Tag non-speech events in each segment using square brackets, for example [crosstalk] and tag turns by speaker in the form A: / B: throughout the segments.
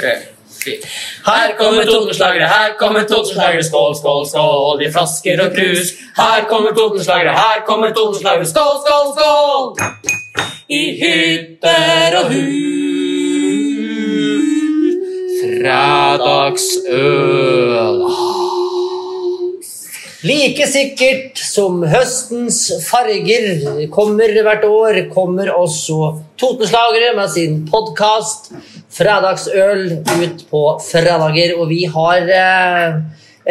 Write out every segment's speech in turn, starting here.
A: tre, fire. Her kommer Totenslagere, her kommer Totenslagere, skål, skål, skål i flasker og krus. Her kommer Totenslagere, her kommer Totenslagere, skål, skål, skål! I hytter og hus, fredagsøl.
B: Like sikkert som høstens farger kommer hvert år, kommer også Totenslagere med sin podkast Fredagsøl ut på fredager. Og vi har eh,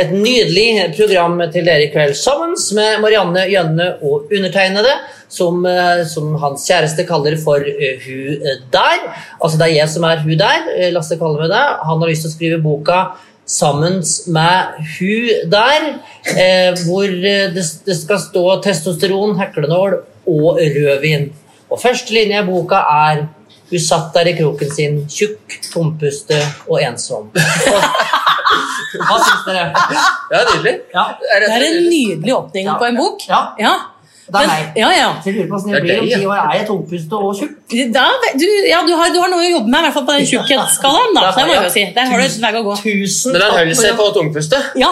B: et nydelig program til dere i kveld sammen med Marianne Jønne og undertegnede, som, eh, som hans kjæreste kaller for eh, Hu der. Altså det er jeg som er Hu der. eh, Lasse kaller meg det. Han har lyst til å skrive boka sammen med hun der, eh, hvor eh, det, det skal stå testosteron, heklenål og rødvin. Og første linje i boka er hun satt der i kroken sin, tjukk, tompuste og ensom. [laughs] Hva syns dere?
A: Ja, nydelig.
B: Ja,
A: Er
C: Det er en nydelig åpning
B: Ja.
C: på en bok.
B: ja
C: Ja.
B: det er
C: Men-
B: meg.
C: ja, ja.
B: Jeg lurer på hvordan jeg
A: Det er
B: blir om
A: deg, ja.
B: ti år. Er jeg tompuste og tjukk?
C: Da, du, ja du, har, du har noe å jobbe med, i hvert fall på den tjukkhetsskalaen. Da.
B: Der har
C: Det må jeg
B: jeg
C: jo si. Der har du en vei å gå.
B: Tusen
A: Men han holder seg på tungpustet.
C: Ja.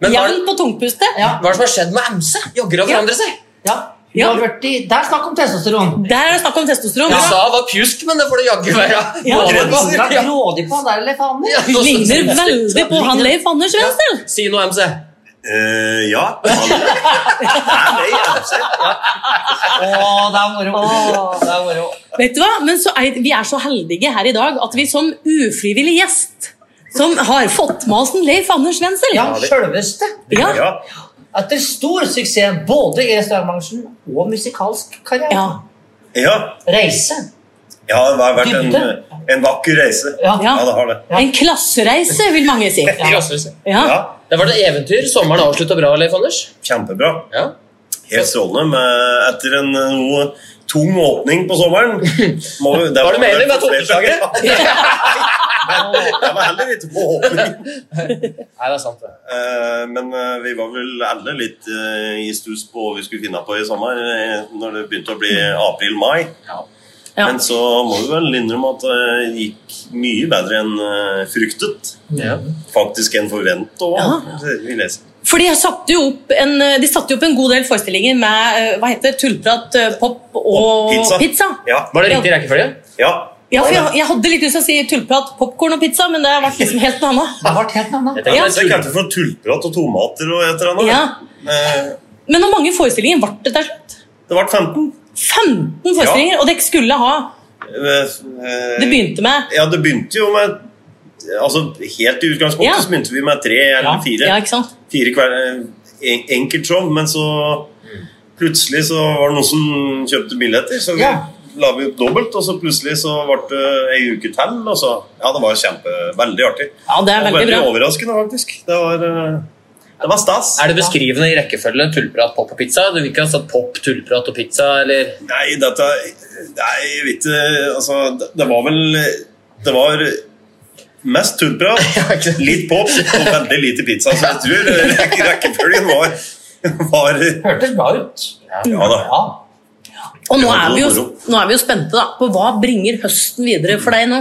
A: Men var-
C: Jevn på tungpustet.
B: Ja.
A: Hva er det som har skjedd med MC? Jogger og
C: Ja.
A: forandrer seg.
B: Ja, hun
C: Ja.
B: har vært i Det er snakk om testosteron.
C: Der er det snakk om testosteron.
A: USA var pjusk, men det får det jaggu være.
C: Ja.
A: Grådig på.
B: Hun er
A: Ja.
B: grådig på han der elefanten.
A: Ja,
C: Du
A: nå-
C: ligner veldig på han Leif Anders Wenzel.
A: Si noe, MC.
D: Eh, ja. [laughs] altså. Han, han er jævlig.
B: Å, det er moro. Det er moro.
C: Vet du hva? Men så er, vi er så heldige her i dag at vi som ufrivillig gjest som har fått med oss en Leif Anders Wenzel.
B: Ja, sjølveste.
C: Ja.
D: Ja.
B: Etter stor suksess både i restaurantbransjen og musikalsk karriere.
C: Ja.
D: ja.
B: Reise.
D: Ja, det har vært en,
B: Dybde.
D: en vakker reise.
B: Ja.
C: Ja.
D: det har det.
C: En klassereise, vil mange si.
A: I rastløse.
C: Ja.
D: Ja,
A: Det har vært et eventyr. Sommeren avslutta bra, Leif Anders.
D: Kjempebra.
A: Ja.
D: Helt strålende. Men etter en eh, noe tung åpning på sommeren må vi-
A: Var du med i det med
D: [laughs]
A: toppslaget?
D: Jeg var heller ikke på åpning.
A: Nei, det er sant, det.
D: Eh, Men eh, vi var vel alle litt eh, i stus på hva vi skulle finne på i sommer, eh, når det begynte å bli april-mai.
C: Ja.
D: Men så må vi vel innrømme at eh, det gikk mye bedre enn eh, fryktet.
A: Ja.
D: Faktisk enn forventa òg.
C: For de satte, jo opp en, eh, de satte jo opp en god del forestillinger med eh, hva heter det, tullprat, eh, pop og
D: pizza.
C: pizza.
D: Ja.
A: Var det riktig rekkefølge?
D: ja.
C: Ja, for jeg, jeg hadde litt lyst til å si tullprat, popkorn og pizza, men det ble liksom helt noe annet.
B: Det ble helt noe annet.
A: Jeg tenker
C: Ja.
A: på en
D: Det
A: tur.
D: kalte for tullprat og tomater og et eller annet.
C: Ja.
D: Eh,
C: Men hvor mange forestillinger ble det til slutt?
D: Det ble 15.
C: 15 forestillinger, og dere skulle ha Det
D: Det
C: begynte med
D: Eh, Ja, det begynte jo med Altså, Helt i utgangspunktet
C: Ja.
D: så begynte vi med tre eller fire.
C: Ja, ikke sant?
D: fire hver, eh, en, enkelt show, men så plutselig så var det noen som kjøpte billetter, så vi
B: Ja.
D: la vi opp dobbelt, og så plutselig så ble det ei uke til, og så Ja, det var kjempe, veldig artig.
C: Ja, det er
D: Og
C: veldig
D: veldig
C: bra.
D: overraskende, faktisk. Det var, eh, det var stas.
A: Er det beskrivende i rekkefølge tullprat, pop og pizza? Du vil ikke ha satt pop, tullprat og pizza, eller
D: Nei, dette Nei, jeg vet ikke Altså, det, det var vel Det var
C: [laughs]
D: mest tullprat, litt pop og veldig lite pizza, så jeg tror eh,
C: [laughs]
D: rekkefølgen var, var
B: Hørtes bra ut.
D: Ja da.
B: Ja.
C: Og nå
D: Ja,
C: er,
D: det
C: vi jo,
D: var moro.
C: nå er vi jo spente da, på hva bringer høsten videre for deg nå.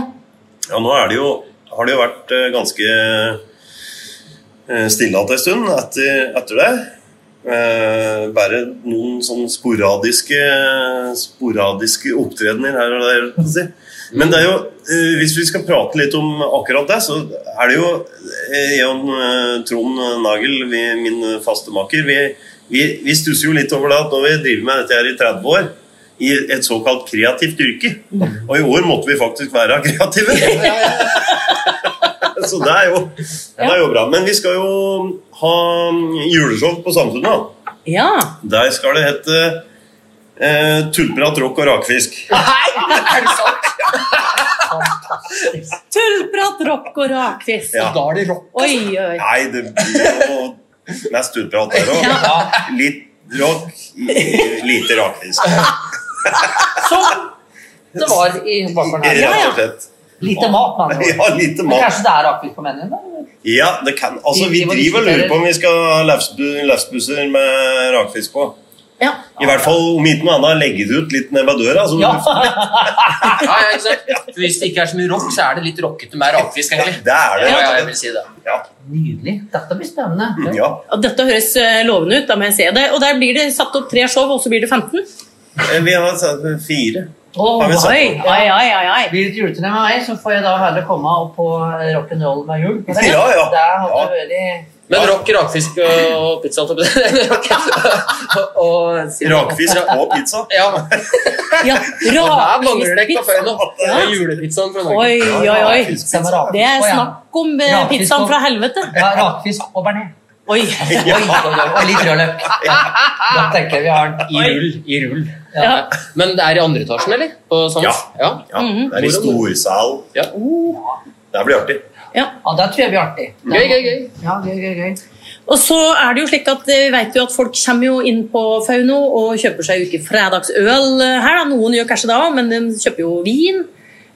D: Ja, nå er det jo, har det jo vært eh, ganske eh, stille hatt en stund etter, etter det. Eh, bare noen sånn sporadiske, sporadiske opptredener her og der. kan jeg Si. Men det er jo, eh, hvis vi skal prate litt om akkurat det, så er det jo eh, jeg og eh, Trond Nagel, vi, min faste maker, vi, vi, vi stusser jo litt over det at når vi driver med dette her i 30 år, i et såkalt kreativt yrke. Og i år måtte vi faktisk være kreative. [laughs] Så det er, jo, det er jo bra. Men vi skal jo ha um, juleshow på Samfunnet. da.
C: Ja,
D: Der skal det hete eh, Tullprat, rock og rakfisk.
C: Tullprat, rock og rakfisk.
D: Ja.
A: Da er det rock.
C: Oi, oi.
D: Nei, det blir jo mest tullprat der
B: [laughs]
D: òg. Litt rock, lite rakfisk.
B: Som Sånn. det var i bakgården her.
D: Rett og slett.
B: Lite mat, med andre ord.
D: Ja, lite
B: Men
D: mat.
B: Kanskje det er akkurat på menyen? da?
D: Ja, det kan. Altså,
B: Vi-
D: vi
B: vi må
D: driver og lurer
B: diskutere-
D: på om vi skal ha lefsbu- lefsbusser med rakfisk på.
C: Ja.
D: I hvert fall om ikke noe annet legge det ut litt ned ved døra. Så
B: Ja.
A: Ja, ja, ikke sant? For hvis det ikke er så mye rock, så er det litt rockete med rakfisk, egentlig.
D: Det er det.
A: Ja, ja, jeg vil si det.
D: Ja.
B: Nydelig. Dette blir spennende.
D: ja.
C: Og Dette høres eh, lovende ut, da må jeg se det. Og der blir det satt opp tre show, og så blir det 15?
D: Eh, Vi har satt fire.
B: Oh,
D: Har vi satt
C: Oi,
D: opp?
C: oi, oi, oi, oi.
B: Blir det et juleturné med meg, så får jeg da heller komme opp på rock'n'roll hver jul.
D: Ja, ja.
B: Det hadde
D: Ja.
B: vært
A: Men rock, rakfisk og pizza og rock, [laughs] og,
D: Rakfisk og pizza.
A: Ja,
C: Ja,
A: og der mangler det ikke
C: rakfisk
A: før nå. Det
C: Ja.
A: er julepizzaen fra Norge.
C: Oi, oi, oi.
B: Stemmer av.
C: Det er
B: Å, ja.
C: snakk om eh,
B: Rakfisk
C: pizzaen
B: og-
C: fra helvete.
B: Ja, rakfisk og bearnés.
C: Oi.
D: Ja.
B: Og litt
D: [laughs]
B: rødløk. Da tenker jeg vi har den.
A: I rull, i rull.
C: Ja.
A: Men det er i andre etasjen, eller? På Sans?
D: Ja.
A: ja.
D: ja. Det er i storsal.
A: Mhm. Ja.
D: Det blir artig.
B: Ja, det tror jeg blir artig.
A: Gøy, gøy, gøy.
B: Ja, gøy, gøy, gøy.
C: Og så er det jo slik at eh, vi vet jo at folk kommer jo inn på Fauno og kjøper seg uke fredagsøl eh, her. da. Noen gjør kanskje det òg, men de kjøper jo vin.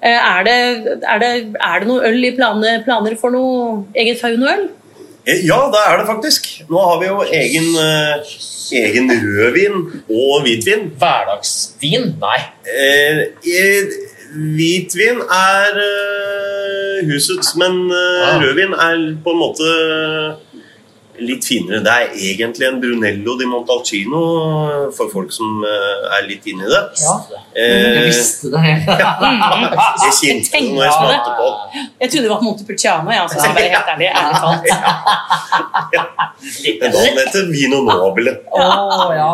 C: Eh, Er det, er det, er det noe øl i planer, planer for noe eget Fauno-øl?
D: Eh, Ja, det er det faktisk. Nå har vi jo egen, eh, egen rødvin og hvitvin.
A: Hverdagsvin? Nei.
D: Eh, eh, hvitvin er eh, husets, men eh,
A: Ah.
D: rødvin er på en måte litt finere. Det er egentlig en Brunello di Montalcino eh, for folk som eh, er litt inne i det.
B: Ja.
A: Mm,
B: Jeg
D: Eh,
B: visste det. [laughs]
D: jeg kjente det når jeg smakte på den.
C: Jeg trodde det var Montepulciano. Ja, altså, jeg helt ærlig, ærlig talt.
D: Men da den heter Vino Nobile.
B: Å, ja.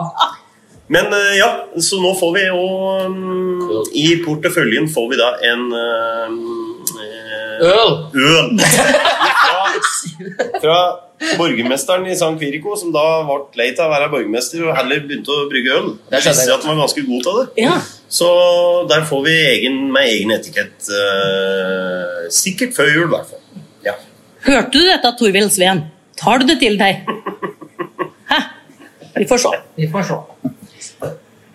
D: Men eh, ja, så nå får vi jo mm, I porteføljen får vi da en eh,
A: Øl!
D: øl [laughs] fra, fra borgermesteren i San Quirico, som da ble lei av å være borgermester og heller begynte å brygge øl. Det
A: Det skjønner
D: viste seg
A: jeg.
D: at han var ganske god til det.
C: Ja.
D: Så der får vi egen, med egen etikett eh, sikkert før jul, i hvert fall. Ja.
C: Hørte du dette, Torvild Sveen? Tar du det til deg? Hæ? Vi får se.
B: Vi får se.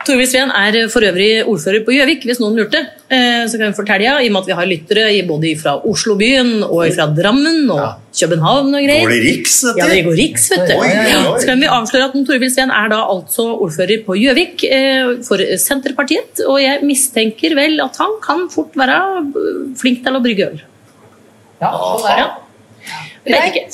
C: Torvild Sveen er for øvrig ordfører på Gjøvik, hvis noen lurte. Eh, Så kan vi fortelle, ja, i og med at vi har lyttere i- både fra Oslobyen og fra Drammen og København og
D: Går
C: greier.
D: det riks,
C: Ja, det
D: dette?
C: går riks, vet du.
D: Oi, oi, oi.
C: Så kan vi avsløre at Torvild Sveen er da altså ordfører på Gjøvik eh, for Senterpartiet, og jeg mistenker vel at han kan fort være eh, flink til å brygge øl.
B: Ja, sånn er det.
C: Ja. Vet ikke.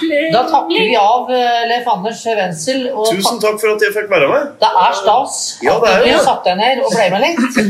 B: Da takker vi av eh, Leif Anders Wendsel. Og
D: Tusen takk for at jeg fikk være med.
B: Det er stas
D: Ja, det er
B: at du
D: jo det.
B: satte deg ned og ble med litt.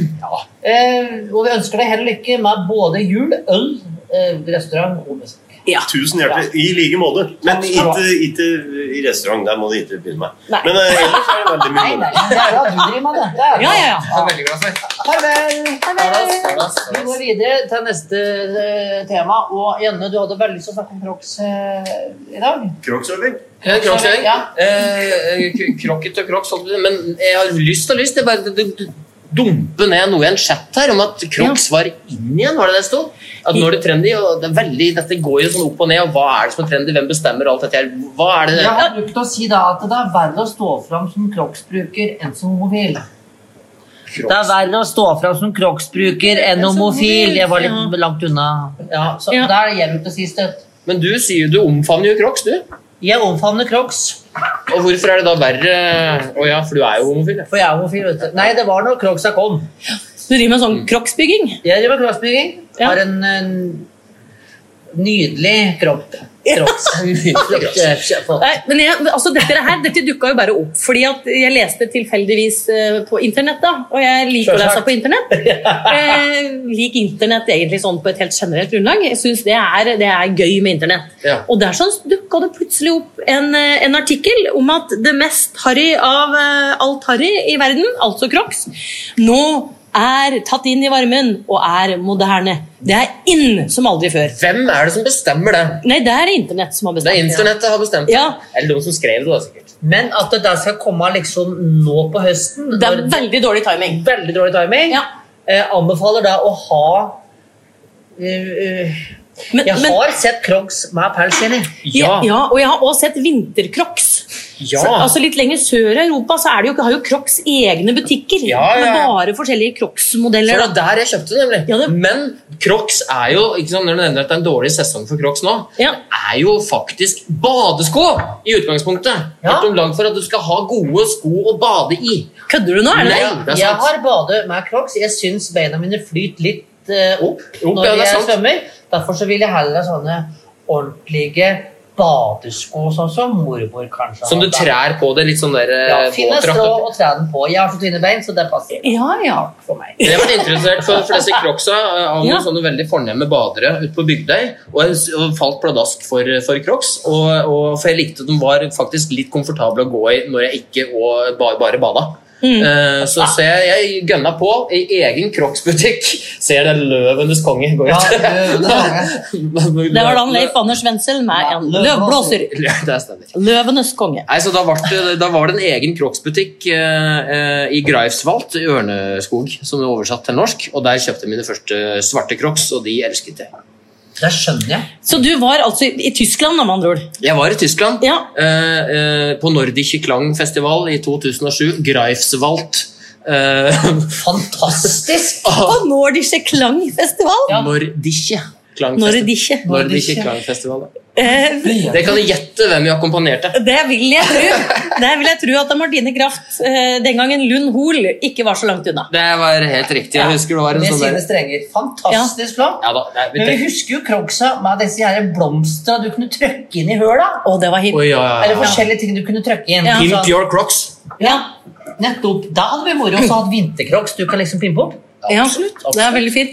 B: Eh, og vi ønsker deg hell og lykke med både jul, øl, eh, restaurant og musikk.
C: Ja.
D: Tusen hjertelig. I like måte. Men
B: Takk skal du ha.
D: ikke, ikke i restaurant. Der må du ikke begynne med.
C: Nei.
D: Men eh, ellers er det veldig mye
B: Nei, nei,
D: moro.
B: men det er bra. Du driver med det. det er bra.
C: Ja, ja, ja.
A: Jeg er veldig glad for.
B: Farvel.
A: Ha det, ha
B: Vi
A: det.
B: går videre til neste eh, tema. Og Janne, du hadde veldig lyst til å snakke om Crocs eh, i dag.
D: Kroksøving.
A: Eh, Kroksøring.
B: Ja.
A: Eh, k- krokket og kroks, holdt jeg på å si. men jeg har lyst og lyst. Det er bare d- d- dumpe ned noe i en chat her om at crocs var inn igjen, var det det stod? At nå er det trendy, og det er veldig, dette går jo sånn opp og ned, og hva er det som er trendy, hvem bestemmer alt dette her? Hva er det?
B: Jeg har brukt å si da at det er verre å stå fram som Crocs-bruker enn som homofil. Det er verre å stå fram som Crocs-bruker enn
C: som
B: homofil.
C: homofil,
B: Jeg var litt
C: ja.
B: langt unna. Ja, så
C: Ja.
B: der er jeg ute å si støtt.
A: Men du sier jo du omfavner jo crocs, du.
B: Jeg omfavner Crocs,
A: Og hvorfor er det da verre? Å ja, for du er jo
B: [laughs]
A: homofil. ja.
B: for jeg er homofil. Vet du. Nei, det var når Crocsa kom.
C: Du driver med sånn kroksbygging?
B: Jeg driver med crossbygging.
C: Ja.
B: Har en, en nydelig kropp.
C: [laughs]
B: Crocs.
C: Nei, men jeg, altså dette her, dette dukka jo bare opp fordi at jeg leste tilfeldigvis eh, på internett. da, Og jeg liker å lese
B: Selvsagt.
C: på internett. Eh, lik internett egentlig sånn på et helt generelt grunnlag. Jeg synes det, er- det er gøy med internett.
A: Ja.
C: Og der sånn dukka det plutselig opp en, eh, en artikkel om at det mest harry av eh, alt harry i verden, altså Crocs, nå er tatt inn i varmen og er moderne. Det er inn som aldri før.
A: Hvem er det som bestemmer det?
C: Nei, det er internett som har
A: Det
C: bestemt.
A: er internettet har bestemt det.
C: Ja.
A: Eller de som skrev det, da, sikkert.
B: Men at det der skal komme liksom nå på høsten
C: Det er
B: når-
C: veldig dårlig timing.
B: Veldig dårlig timing.
C: Ja.
B: Eh, anbefaler da å ha eh, eh,
C: Men,
B: Jeg
C: men,
B: har sett Crocs med pels inni.
C: ja. og jeg har også sett vinterkroks.
B: Ja.
C: Altså Litt lenger sør i Europa så er det jo, har jo Crocs egne butikker
B: Ja, ja, ja.
C: med bare forskjellige
A: For
C: Crocs-modeller.
A: det var der jeg kjøpte det, nemlig.
C: Ja, det-
A: Men Crocs er jo ikke sant, Når du nevner at det er en dårlig sesong for Crocs nå,
C: Ja.
A: er jo faktisk badesko i utgangspunktet.
B: Ja.
A: Vært om lag for at du skal ha gode sko å bade i.
C: da. Kødder du nå? Er det
A: Nei.
C: det?
A: det er
B: Jeg
A: sant.
B: har badet med crocs. Jeg syns beina mine flyter litt eh, opp
A: Opp,
B: når
A: ja, det er
B: jeg
A: sant.
B: svømmer. Derfor så vil jeg heller ha sånne ordentlige badesko, sånn som mormor kanskje
A: Som du
B: hadde.
A: trær på det litt sånn der eh,
B: Ja, Finn et
A: våtdrakt
B: strå
A: oppi.
B: og tre den på. Jeg har så tynne bein, så det passer
C: Ja, ja.
B: for meg.
A: Jeg har vært interessert for de fleste crocsa eh, av noen
C: Ja.
A: sånne veldig fornemme badere ute på Bygdøy, og jeg s- og falt pladask for, for crocs. Og, og, for jeg likte at de var faktisk litt komfortable å gå i når jeg ikke og bare, bare bada.
C: Mm.
A: Eh, så så jeg, jeg gønna på i egen crocsbutikk. Ser det løvenes konge gå ut. [laughs]
B: Ja, løvenes
C: Det var da han Leif Anders Wendsel med en
B: Ja,
C: løvblåser.
A: Ja, det stemmer.
C: Løvenes konge.
A: Nei, så da, var det, da var det en egen crocsbutikk eh, eh, i Greifswald, i Ørneskog, som er oversatt til norsk. Og der kjøpte jeg mine første svarte crocs, og de elsket jeg.
B: Det skjønner jeg.
C: Så du var altså i i Tyskland, da, med andre ord?
A: Jeg var i Tyskland,
C: Ja.
A: eh, eh, på Nordische Klangfestival i 2007. Greifswald. Eh,
B: Fantastisk!
C: På Nordische Klangfestival?
A: Nordische Klangfestival.
C: Nordische.
A: Nordische Klangfestival. ja.
C: Eh,
A: Dere kan gjette hvem jeg akkompagnerte.
C: det vil jeg tro. Det vil jeg tro at da Martine Graft, eh, den gangen Lund Hoel, ikke var så langt unna.
A: Det var helt riktig. Jeg husker det var en
B: Med
A: sånn
B: sine
A: der
B: strenger. Fantastisk flott.
A: ja da, nei, vi
B: Men vi
A: tenker-
B: husker jo crocsa med disse her blomstra du kunne trøkke inn i høla.
C: Å, det var hip.
A: Oi, ja, ja,
B: Eller
A: ja.
B: forskjellige ting du kunne trykke inn.
C: Ja.
A: Pimp your crocs.
B: Ja, nettopp. Da hadde vi moro også hatt vinterkroks du kan liksom pimpe opp.
C: Ja, Det er veldig fint.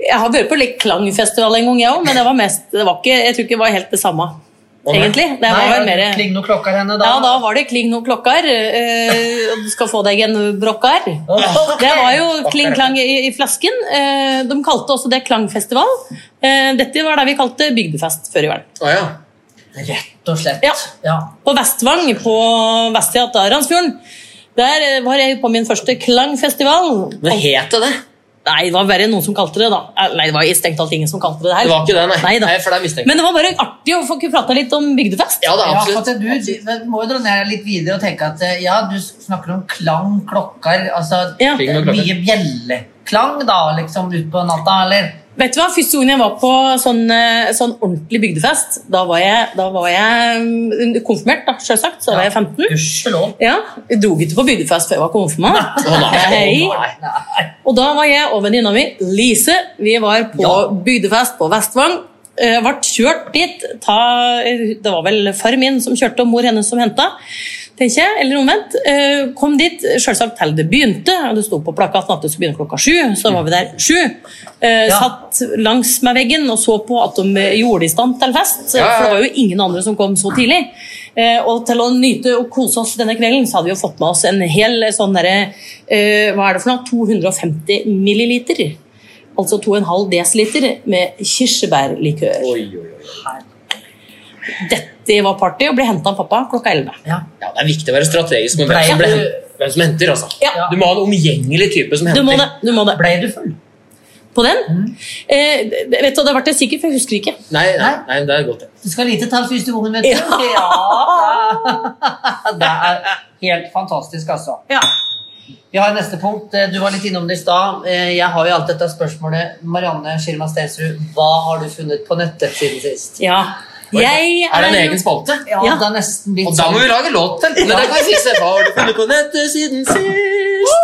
C: Jeg har vært på litt klangfestival en gang, jeg òg, men det var mest, det var ikke, jeg tror ikke det var helt det samme. Egentlig. Det var vel mer
B: Kling noen klokker henne da.
C: Ja, da var det kling noen klokker. eh, og du skal få deg en brokkar. Det var jo kling-klang i, i flasken. Eh, de kalte også det klangfestival. Eh, dette var det vi kalte bygdefest før i verden.
A: Å, ja.
B: Rett og slett.
C: Ja.
B: Ja.
C: På Vestvang, på vestsida av Randsfjorden, der eh, var jeg på min første klangfestival.
A: Men het det det?
C: Nei, det var bare noen som kalte det da. Eh, Nei, det var strengt talt ingen som kalte det
A: Det
C: det her.
A: var ikke det, nei.
C: Neida.
A: nei for det er mistenkt.
C: Men det var bare artig å få prata litt om bygdefest.
A: Ja, det er
B: Ja, for
A: absolutt.
B: at du, du må jo dra ned litt videre og tenke at eh, ja, du snakker om klang, klokker, altså
C: Ja.
A: Kling og klokker.
B: mye bjelleklang da, liksom ut på natta, eller?
C: Vet du hva, Første gangen jeg var på sånn, eh, sånn ordentlig bygdefest, da var jeg, da var jeg mm, konfirmert, da, selvsagt. Så da var jeg 15.
B: Gudskjelov.
C: Ja, Jeg dro ikke på bygdefest før jeg var konfirmant.
A: Å, nei.
C: Hei.
A: Å, nei.
B: Nei.
C: Og da var jeg og venninna mi Lise. Vi var på
B: Ja.
C: bygdefest på Vestvang. Eh, Ble kjørt dit. Ta, eh, det var vel far min som kjørte, og mor hennes som henta. Tenker jeg, eller omvendt. Eh, Kom dit selvsagt til det begynte. og Det sto på plakaten at det skulle begynne klokka sju. Så var vi der sju. Eh,
B: Ja.
C: Satt langs med veggen og så på at de eh, gjorde i stand til fest.
A: Ja, ja, ja.
C: For det var jo ingen andre som kom så tidlig. Eh, og til å nyte og kose oss denne kvelden, så hadde vi jo fått med oss en hel sånn derre eh, Hva er det for noe? 250 milliliter. Altså 2,5 desiliter med kirsebærlikør.
A: Oi, oi, oi.
C: Dette var party og ble henta av pappa klokka 11.
B: Ja.
A: Ja, det er viktig å være strategisk med hvem som, ble, hvem som henter. altså.
C: Ja.
A: Du må ha en omgjengelig type som
C: Du
A: henter.
C: må det. du må det.
B: Ble du full?
C: På den?
A: Mm.
C: Eh, vet du, Det ble jeg sikker, for jeg husker ikke.
A: Nei, nei, nei, det er godt. det.
B: Du skal lite til første gangen, vet du.
C: Ja. [laughs]
B: Ja, da. Det er helt fantastisk, altså.
C: Ja.
B: Vi har neste punkt. Eh, Du var litt innom det i stad. Eh, Jeg har jo alt dette spørsmålet. Marianne Schirma Stensrud, hva har du funnet på nettet siden sist?
C: ja. Jeg
A: Er det en egen spalte?
B: Ja,
C: Ja.
B: det er nesten litt sånn-
A: Og da må vi lage låt til! Men det kan vi fikse. Hva har du funnet på nettet siden sist?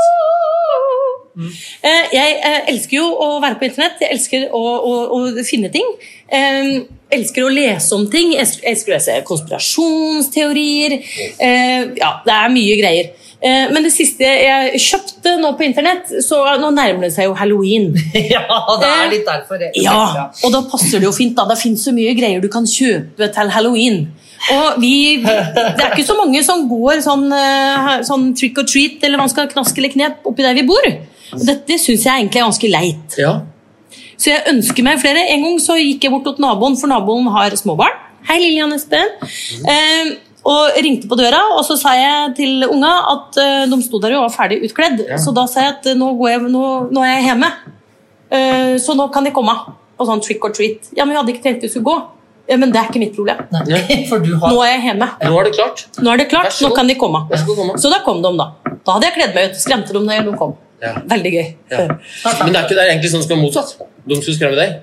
C: Eh, Jeg eh, elsker jo å være på internett. Jeg elsker å, å, å finne ting. Eh, elsker å lese om ting. Jeg elsker- elsker å lese konspirasjonsteorier. Eh, ja, det er mye greier. Eh, men det siste jeg kjøpte nå på internett, så nå nærmer det seg jo halloween.
B: [laughs] Ja, det er litt derfor. eh. det-
C: Ja, og da passer det jo fint. da. Det finnes så mye greier du kan kjøpe til halloween. Og vi, vi, Det er ikke så mange som går sånn, eh, sånn trick or treat eller man skal knaske eller knep oppi der vi bor. Og dette syns jeg egentlig er ganske leit.
A: Ja.
C: Så jeg ønsker meg flere. En gang så gikk jeg bort til naboen, for naboen har småbarn. Hei, Lillian Espen. Eh, og ringte på døra, og så sa jeg til unga at eh, de sto der og var ferdig utkledd. Så da sa jeg at eh, nå, går jeg, nå, nå er jeg hjemme, eh, så nå kan de komme. Og sånn trick or treat. Ja, men vi hadde ikke tenkt vi skulle gå. Ja, men det er ikke mitt problem.
B: [laughs]
A: Nei, for du har
C: Nå er jeg hjemme.
A: Nå er det klart.
C: Nå er det
A: Vær
C: klart,
A: så
C: nå
A: god.
C: kan de komme.
A: Vær så god, mamma.
C: Så da kom de, da. Da hadde jeg kledd meg ut. Skremte dem når de kom.
A: Ja.
C: Veldig gøy.
A: Ja. Men det er, ikke, det er egentlig sånn som er motsatt. De skulle skremme deg.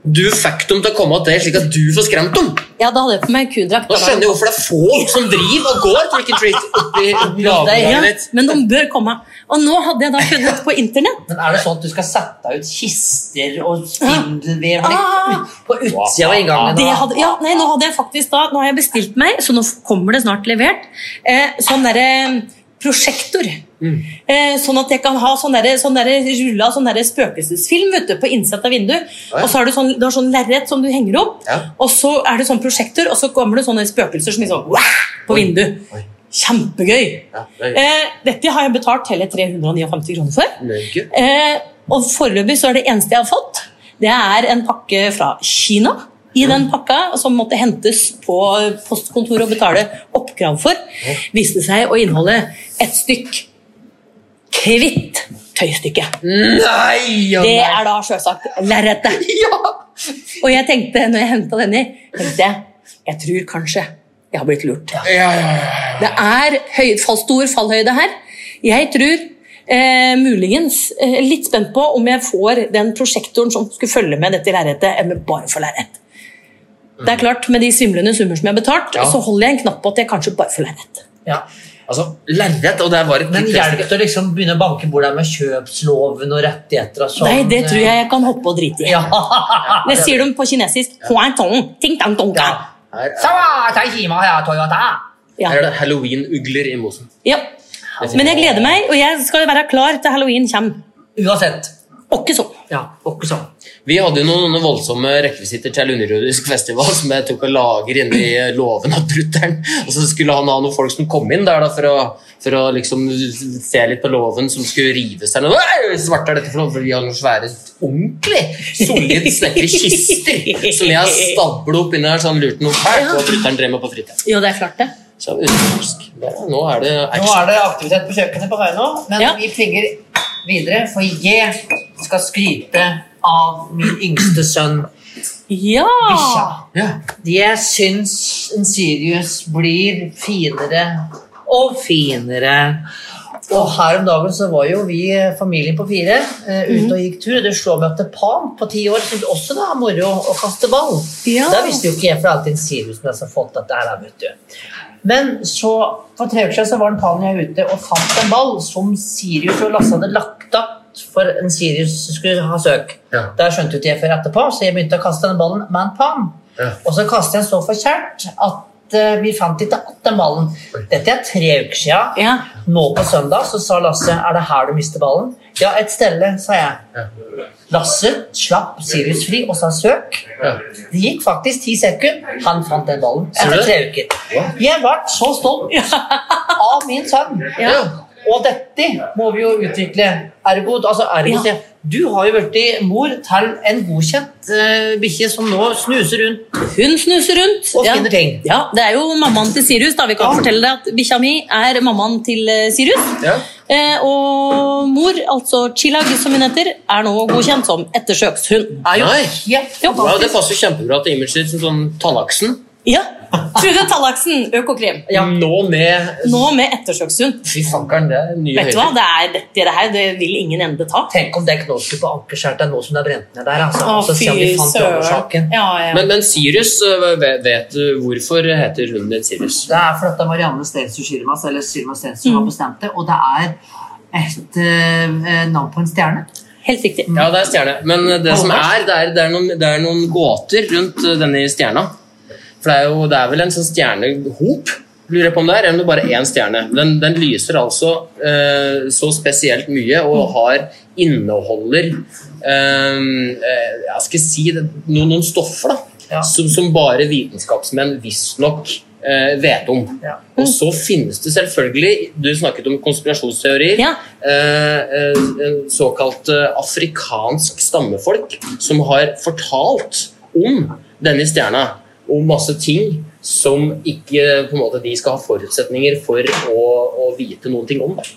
A: Du fikk dem til å komme til deg, slik at du får skremt dem.
C: Ja, da hadde jeg på meg kudrakt.
A: Da skjønner jeg hvorfor det er folk som driver og går trick and treat [laughs] oppi
C: ja,
A: nabolaget ditt.
C: men de bør komme. Og nå hadde jeg da funnet på internett
B: Men er det sånn at du skal sette ut kister og spindelvev
C: Ah.
B: på utsida av inngangen?
C: det
B: da?
C: hadde, ja, nei, Nå hadde jeg faktisk da, nå har jeg bestilt meg, så nå kommer det snart levert, eh, sånn derre prosjektor. Eh, sånn at jeg kan ha sånn derre sånn derre rulla sånn derre spøkelsesfilm vet du, på innsett av vindu. Og så har du sånn, du har sånn lerret som du henger opp,
A: Ja.
C: og så er det sånn prosjektor, og så kommer det sånne spøkelser som er sånn «Wah!» på vindu. Kjempegøy.
A: Ja, det er
C: Eh, dette har jeg betalt hele 359 kroner for.
A: mye.
C: Eh, og foreløpig så er det eneste jeg har fått, det er en pakke fra Kina. I den pakka som måtte hentes på postkontoret og betale oppkrav for, viste seg å inneholde et stykk kvitt tøystykke.
A: Nei! Ja,
C: Det
A: nei.
C: er da sjølsagt
A: [laughs]
C: lerretet. Og jeg tenkte, når jeg henta denne, tenkte jeg jeg tror kanskje jeg har blitt lurt.
A: Ja, ja, ja.
C: Det er høy, fall, stor fallhøyde her. Jeg tror eh, muligens eh, litt spent på om jeg får den prosjektoren som skulle følge med dette lerretet, eller bare for lerret. Det er klart, Med de svimlende summer som jeg har betalt,
A: Mm. Ja.
C: så holder jeg en knapp på at jeg kanskje bare får lerret.
B: Ja.
A: Altså, lerret, og det var et
B: Men hjelper det å liksom begynne å banke bordet med kjøpsloven og rettigheter og sånn? eh,
C: Nei, det tror jeg jeg kan hoppe og drite i.
B: Ja. [laughs]
C: Det sier de på kinesisk. «Huan tong, ting tang tong
B: Ja.
C: tang».
A: Her er,
B: Sawa, Tajima, ja, Toyota.
C: Ja.
A: her er det halloween-ugler i mosen.
C: Ja. Men jeg gleder meg, og jeg skal være klar til halloween kommer.
B: Uansett.
C: Åkke sånn.
B: Ja, ikke sånn.
A: Vi hadde jo noen, noen voldsomme rekvisitter til underjordisk festival som jeg tok og lager inne i eh, låven av brutter'n. Og så skulle han ha noen folk som kom inn der da, for, å, for å liksom se litt på låven, som skulle rive seg ned. «Øy, Svarte er dette for noe? For vi har noen svære, ordentlig solid snekkerkister som jeg har stablet opp inni her, så han lurte noe fælt på. Brutter'n drev med på fritida.
C: Jo, det er klart, det.
A: Så utenlandsk. Ja, Nå er det
B: Nå
A: action.
B: er det aktivitet på kjøkkenet på vei nå, men
C: Ja.
B: vi tvinger videre, for jeg skal skryte av min yngste sønn,
C: Ja!
B: Bisha.
A: Ja.
B: Jeg syns Sirius blir finere og finere. Og her om dagen så var jo vi eh, familien på fire eh, ute og gikk tur. Det slo meg at Pan på ti år syntes også det var moro å kaste ball.
C: Ja.
B: Da visste jo ikke jeg, for det er alltid en Sirius med som har fått dette her, da, vet du. Men så, for tre uker siden så var en Pan og jeg ute og fant en ball som Sirius og Lasse hadde lagt opp for en Sirius skulle ha søk.
A: Ja.
B: Der skjønte jo ikke jeg før etterpå, så jeg begynte å kaste den ballen med en Pan.
A: Ja.
B: Og så kastet jeg så for kjært at eh, vi fant ikke att den ballen. Dette er tre uker siden.
C: Ja.
B: Nå på søndag så sa Lasse er det her du mister ballen. Ja, et stelle, sa jeg. Lasse slapp Sirius fri og sa søk.
A: Ja.
B: Det gikk faktisk ti sekunder. Han fant den ballen
A: Ser du det?
B: etter tre uker. Jeg ble så stolt av min sønn.
C: Ja.
B: Og dette må vi jo utvikle. Ergo, altså ergo
C: Ja.
B: Du har jo blitt mor til en godkjent uh, bikkje som nå snuser rundt
C: Hun snuser rundt.
B: Og finner ting.
C: Ja, Det er jo mammaen til Sirius. da Vi kan
B: Ja.
C: fortelle deg at Bikkja mi er mammaen til eh, Sirius.
A: Ja.
C: Eh, og mor, altså Chilag som hun heter, er nå godkjent som ettersøkshund.
B: er jo
A: Nei.
B: helt
A: Ja, det
C: Jo.
B: fantastisk.
A: passer jo kjempebra til imaget ditt som sånn tallaksen.
C: Ja. Trude Tallaksen, Økokrim.
A: Nå med
C: Nå med ettersøkshund.
A: Fy fankeren, det er nye
C: Vet du hva, det er dette det her, det vil ingen ende ta.
B: Tenk om det knåskupet på Ankerskjært er nå som det er brent ned der. Altså.
C: Å,
B: altså, siden vi fant årsaken.
C: Ja, ja.
A: Men, men Sirius, øh, vet, vet du hvorfor heter hunden din Sirius?
B: Det er fordi Marianne Stensrud Shirmas eller Shirma Stensrud har bestemt det, og det er et eh, navn på en stjerne.
C: Helt riktig.
A: Ja, det er stjerne. Men eh, det som er, det er, det er, noen, det er noen gåter rundt øh, denne stjerna. For det er jo det er vel en sånn stjernehop, lurer jeg på om det er, eller om det bare er én stjerne. Den, den lyser altså øh, så spesielt mye og har inneholder øh, øh, Jeg skal si det, noen, noen stoffer, da.
B: Ja.
A: Som, som bare vitenskapsmenn visstnok øh, vet om.
B: Ja.
A: Og så finnes det selvfølgelig, du snakket om konspirasjonsteorier,
C: Ja.
A: eh, eh, såkalt eh, afrikansk stammefolk som har fortalt om denne stjerna, om masse ting som ikke på en måte, de skal ha forutsetninger for å, å vite noen ting om. Da.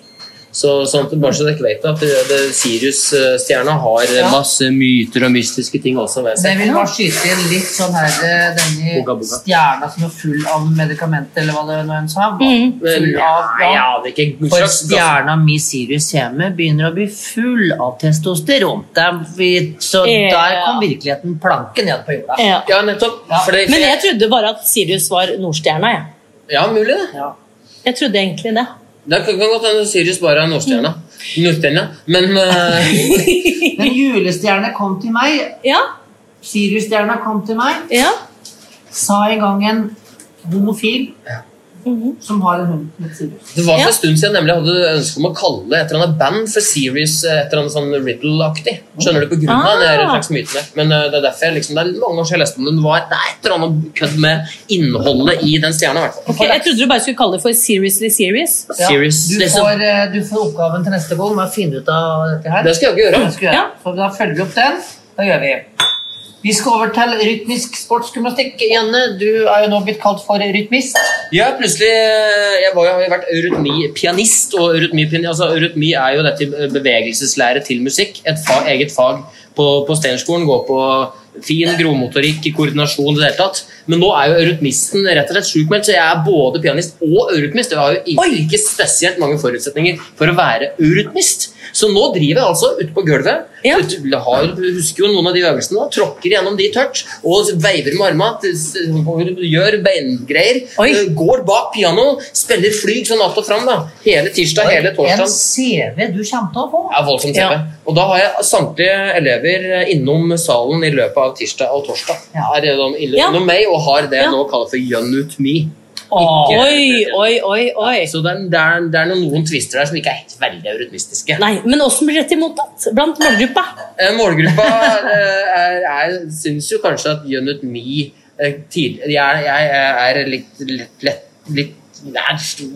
A: Så, sånn at, bare så dere vet at det- det- Sirius-stjerna har eh, masse myter og mystiske ting også ved
B: Men
A: seg.
B: Jeg vil bare skyte inn litt sånn her eh, Denne
A: Boga, boga.
B: stjerna som er full av medikamenter, eller hva det nå enn sa. var
C: Mhm.
B: Full av,
A: Nei,
B: ja.
A: ja, altså. det er ikke en
B: For
A: slags gass-
B: stjerna mi Sirius hjemme begynner å bli full av testosteron. Det er vi- Så
C: Ja.
B: der kom virkeligheten planken ned på jorda.
C: Ja.
A: Ja, nettopp.
B: Ja.
A: For det,
C: Men jeg trodde bare at Sirius var Nordstjerna, jeg.
A: ja, mulig det.
B: Ja.
C: Jeg trodde egentlig det.
A: Det kan kan godt hende Sirius bare er Nordstjerna. Nordstjerna. Men eh,
C: [laughs]
B: Men julestjerne kom til meg.
C: Ja,
B: Sirius-stjerna kom til meg.
C: ja.
B: Sa en gang en homofil som har en hund som heter Sirius.
A: det var for
C: Ja.
A: en stund siden jeg nemlig hadde ønske om å kalle et eller annet band for Sirius eh, et eller annet sånn Riddle-aktig. Skjønner du? På grunn av
C: Ah.
A: den her slags mytene. Men eh, det er derfor jeg liksom, det er mange år siden jeg leste om den. Det var det er et eller annet kødd med innholdet i den stjerna, i hvert fall.
C: Ok, jeg trodde du bare skulle kalle det for Seriously Serious.
B: Ja,
A: Sirius.
B: Du,
A: liksom.
B: får, eh, du får oppgaven til neste gang med å finne ut av dette her.
A: Det skal jeg ikke gjøre.
B: Det skal vi gjøre.
C: Ja.
B: Så da følger vi opp den. Da gjør vi. Vi skal over til rytmisk sportsgymnastikk. Janne, du er jo nå blitt kalt for rytmist.
A: Ja, plutselig eh, Jeg var, jo- har jo vært eurytmipianist, og eurytmipin- altså, eurytmi er jo dette eh, bevegelseslære til musikk. Et fa- eget fag på, på Steinerskolen. Går på fin grovmotorikk, koordinasjon i det hele tatt. Men nå er jo eurytmisten rett og slett sjukmeldt, så jeg er både pianist og eurytmist. Jeg har jo ikke, ikke spesielt mange forutsetninger for å være eurytmist. Så nå driver jeg altså ute på gulvet.
C: Ja.
A: Ut, har, husker jo noen av de øvelsene, da, tråkker gjennom de tørt og veiver med armene. til- s- Gjør beingreier.
C: Oi.
A: Eh, Går bak piano, spiller flyg sånn alt og fram. da. Hele tirsdag, hele
B: En
A: torsdag.
B: CV du kommer til å få.
A: Det er voldsomt TV.
C: Ja.
A: Og da har jeg samtlige elever eh, innom salen i løpet av tirsdag og torsdag.
B: Ja.
A: Er det de ille-
C: Ja.
A: innom meg og har det jeg
C: Ja.
A: nå kaller for Junutmi.
B: Åh,
C: Oi, oi, oi, oi.
A: Så det er, det er, det er noen, noen twister der som ikke er helt veldig eurytmistiske.
C: Nei, men åssen blir dette mottatt blant målgruppa?
A: Eh, Målgruppa eh, er, er, syns jo kanskje at Unit Me eh, tid, jeg, jeg er litt litt, litt, litt jeg,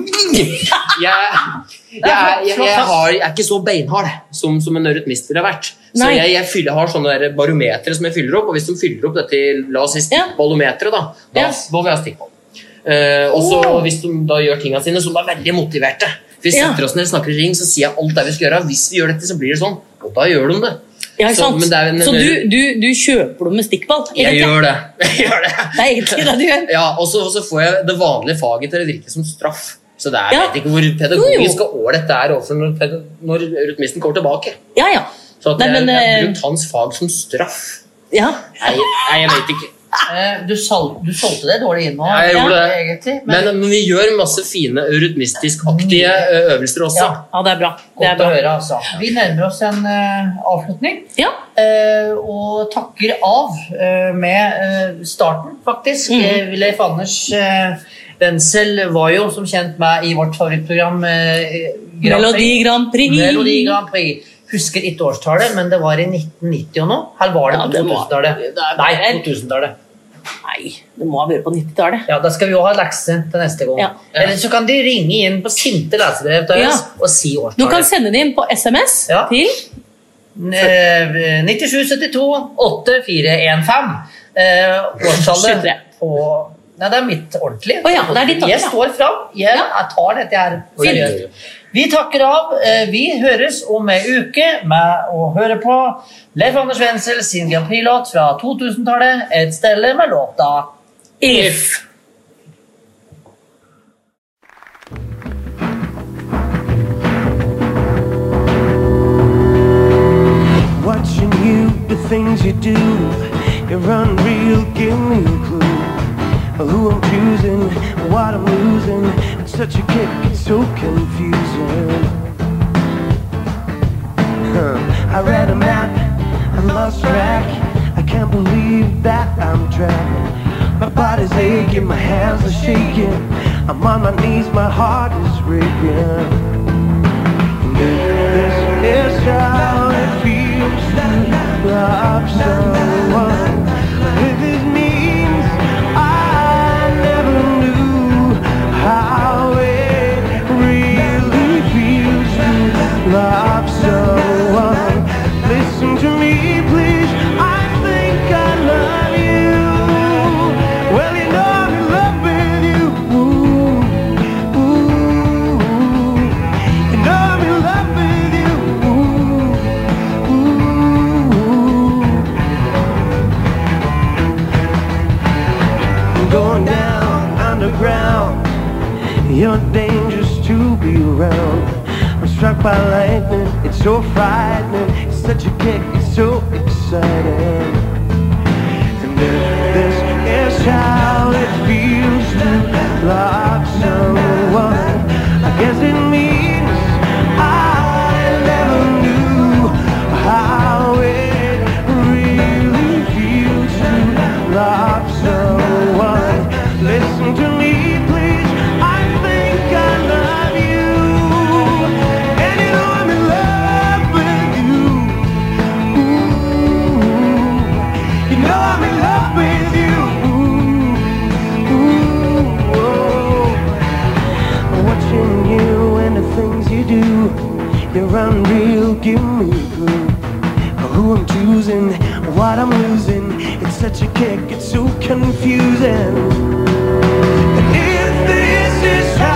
A: jeg, jeg, jeg, jeg, har, jeg er ikke så beinhard som, som en eurytmist ville vært. Så
C: Nei.
A: jeg, jeg, fyller, har sånne der barometre som jeg fyller opp, og hvis de fyller opp dette i la oss si
C: Ja.
A: stikkbollometeret, da, da
C: Ja.
A: må vi ha stikkboll. Eh, og så
C: Wow.
A: hvis de da gjør tingene sine, så de er veldig motiverte. Vi
C: Ja.
A: setter oss ned, snakker i ring, så sier jeg alt det vi skal gjøre. Hvis vi gjør dette, så blir det sånn. Og da gjør de det.
C: Ja, ikke
A: Så-
C: sant?
A: men det er en-
C: Så du, du, du kjøper dem med stikkball?
A: Jeg
C: egentlig?
A: gjør det. [laughs] Jeg gjør det.
C: Det er egentlig det du gjør.
A: Ja, og så, og så får jeg det vanlige faget til å virke som straff. Så det er,
C: Ja.
A: jeg vet ikke hvor pedagogisk og ålreit det er overfor når, ped- når rytmisten kommer tilbake.
C: Ja, ja.
A: Så at
C: Nei, men,
A: jeg, jeg har
C: eh,
A: brukt hans fag som straff.
C: ja.
A: Nei, nei, jeg vet ikke.
B: eh, Du, sol, du solgte deg dårlig inn nå,
A: Ja, jeg gjorde det.
B: egentlig. Men,
A: Men, men vi gjør masse fine rytmistisk-aktige eh, øvelser også.
B: Ja.
C: ja, det er bra. Det er
B: godt å
C: bra.
B: høre, altså. Vi nærmer oss en eh, avslutning.
C: Ja.
B: eh, og takker av eh, med eh, starten, faktisk.
A: Mm.
B: Eh, Leif Anders eh, Wenzel var jo som kjent med i vårt favorittprogram eh, Grand Prix.
C: Melodi Grand Prix.
B: Melodi Grand Prix. Husker ikke årstallet, men det var i 1990 og nå. Her var det
C: Ja,
B: på
C: det var-
B: 2000-tallet.
C: det er-
B: Nei, 2000-tallet.
C: Nei, det må ha vært på 90-tallet.
B: Ja, Da skal vi jo ha lekse til neste gang.
C: Ja.
B: Eller så kan de ringe inn på sinte lesebrev til oss
C: Ja.
B: og si
C: Du kan
B: årstallet.
C: sende det inn på SMS
B: Ja.
C: til
B: Eh, 9772 8415. Eh, årstallet
C: 23.
B: på Nei, det er mitt ordentlige.
C: Å ja, det er ditt
B: jeg
C: ordentlige.
B: står fram. Jeg, jeg tar dette her. seriøst. Vi takker av. Eh, Vi høres om ei uke med å høre på Leif Anders Wenzel sin Grand Prix-låt fra 2000-tallet, et stelle med låta
C: If.
E: Watching you, the things you do, you're unreal, give me a clue. Who I'm choosing, what I'm losing, I'm such a kick, it's so confusing. Huh. I read a map, I lost track, I can't believe that I'm trapped. My body's aching, my hands are shaking, I'm on my knees, my heart is racing. This is how it feels to love someone. If it means I never knew how it really feels to love someone. Listen to me, please. I think I love you. Well, you know I'm in love with you. Ooh, ooh. going down underground. You're dangerous to be around. I'm struck by lightning, it's so frightening. It's such a kick, it's so exciting. And if this is how it feels to love someone, I guess it means I never knew how it really feels to love someone. Listen to me, please. I think I love you, and you know I'm in love with you. Ooh, you know I'm in love with you. Ooh, ooh, oh. Watching you and the things you do, you're unreal. Give me glue. Who I'm choosing, what I'm losing. It's such a kick, it's so confusing. And if this is how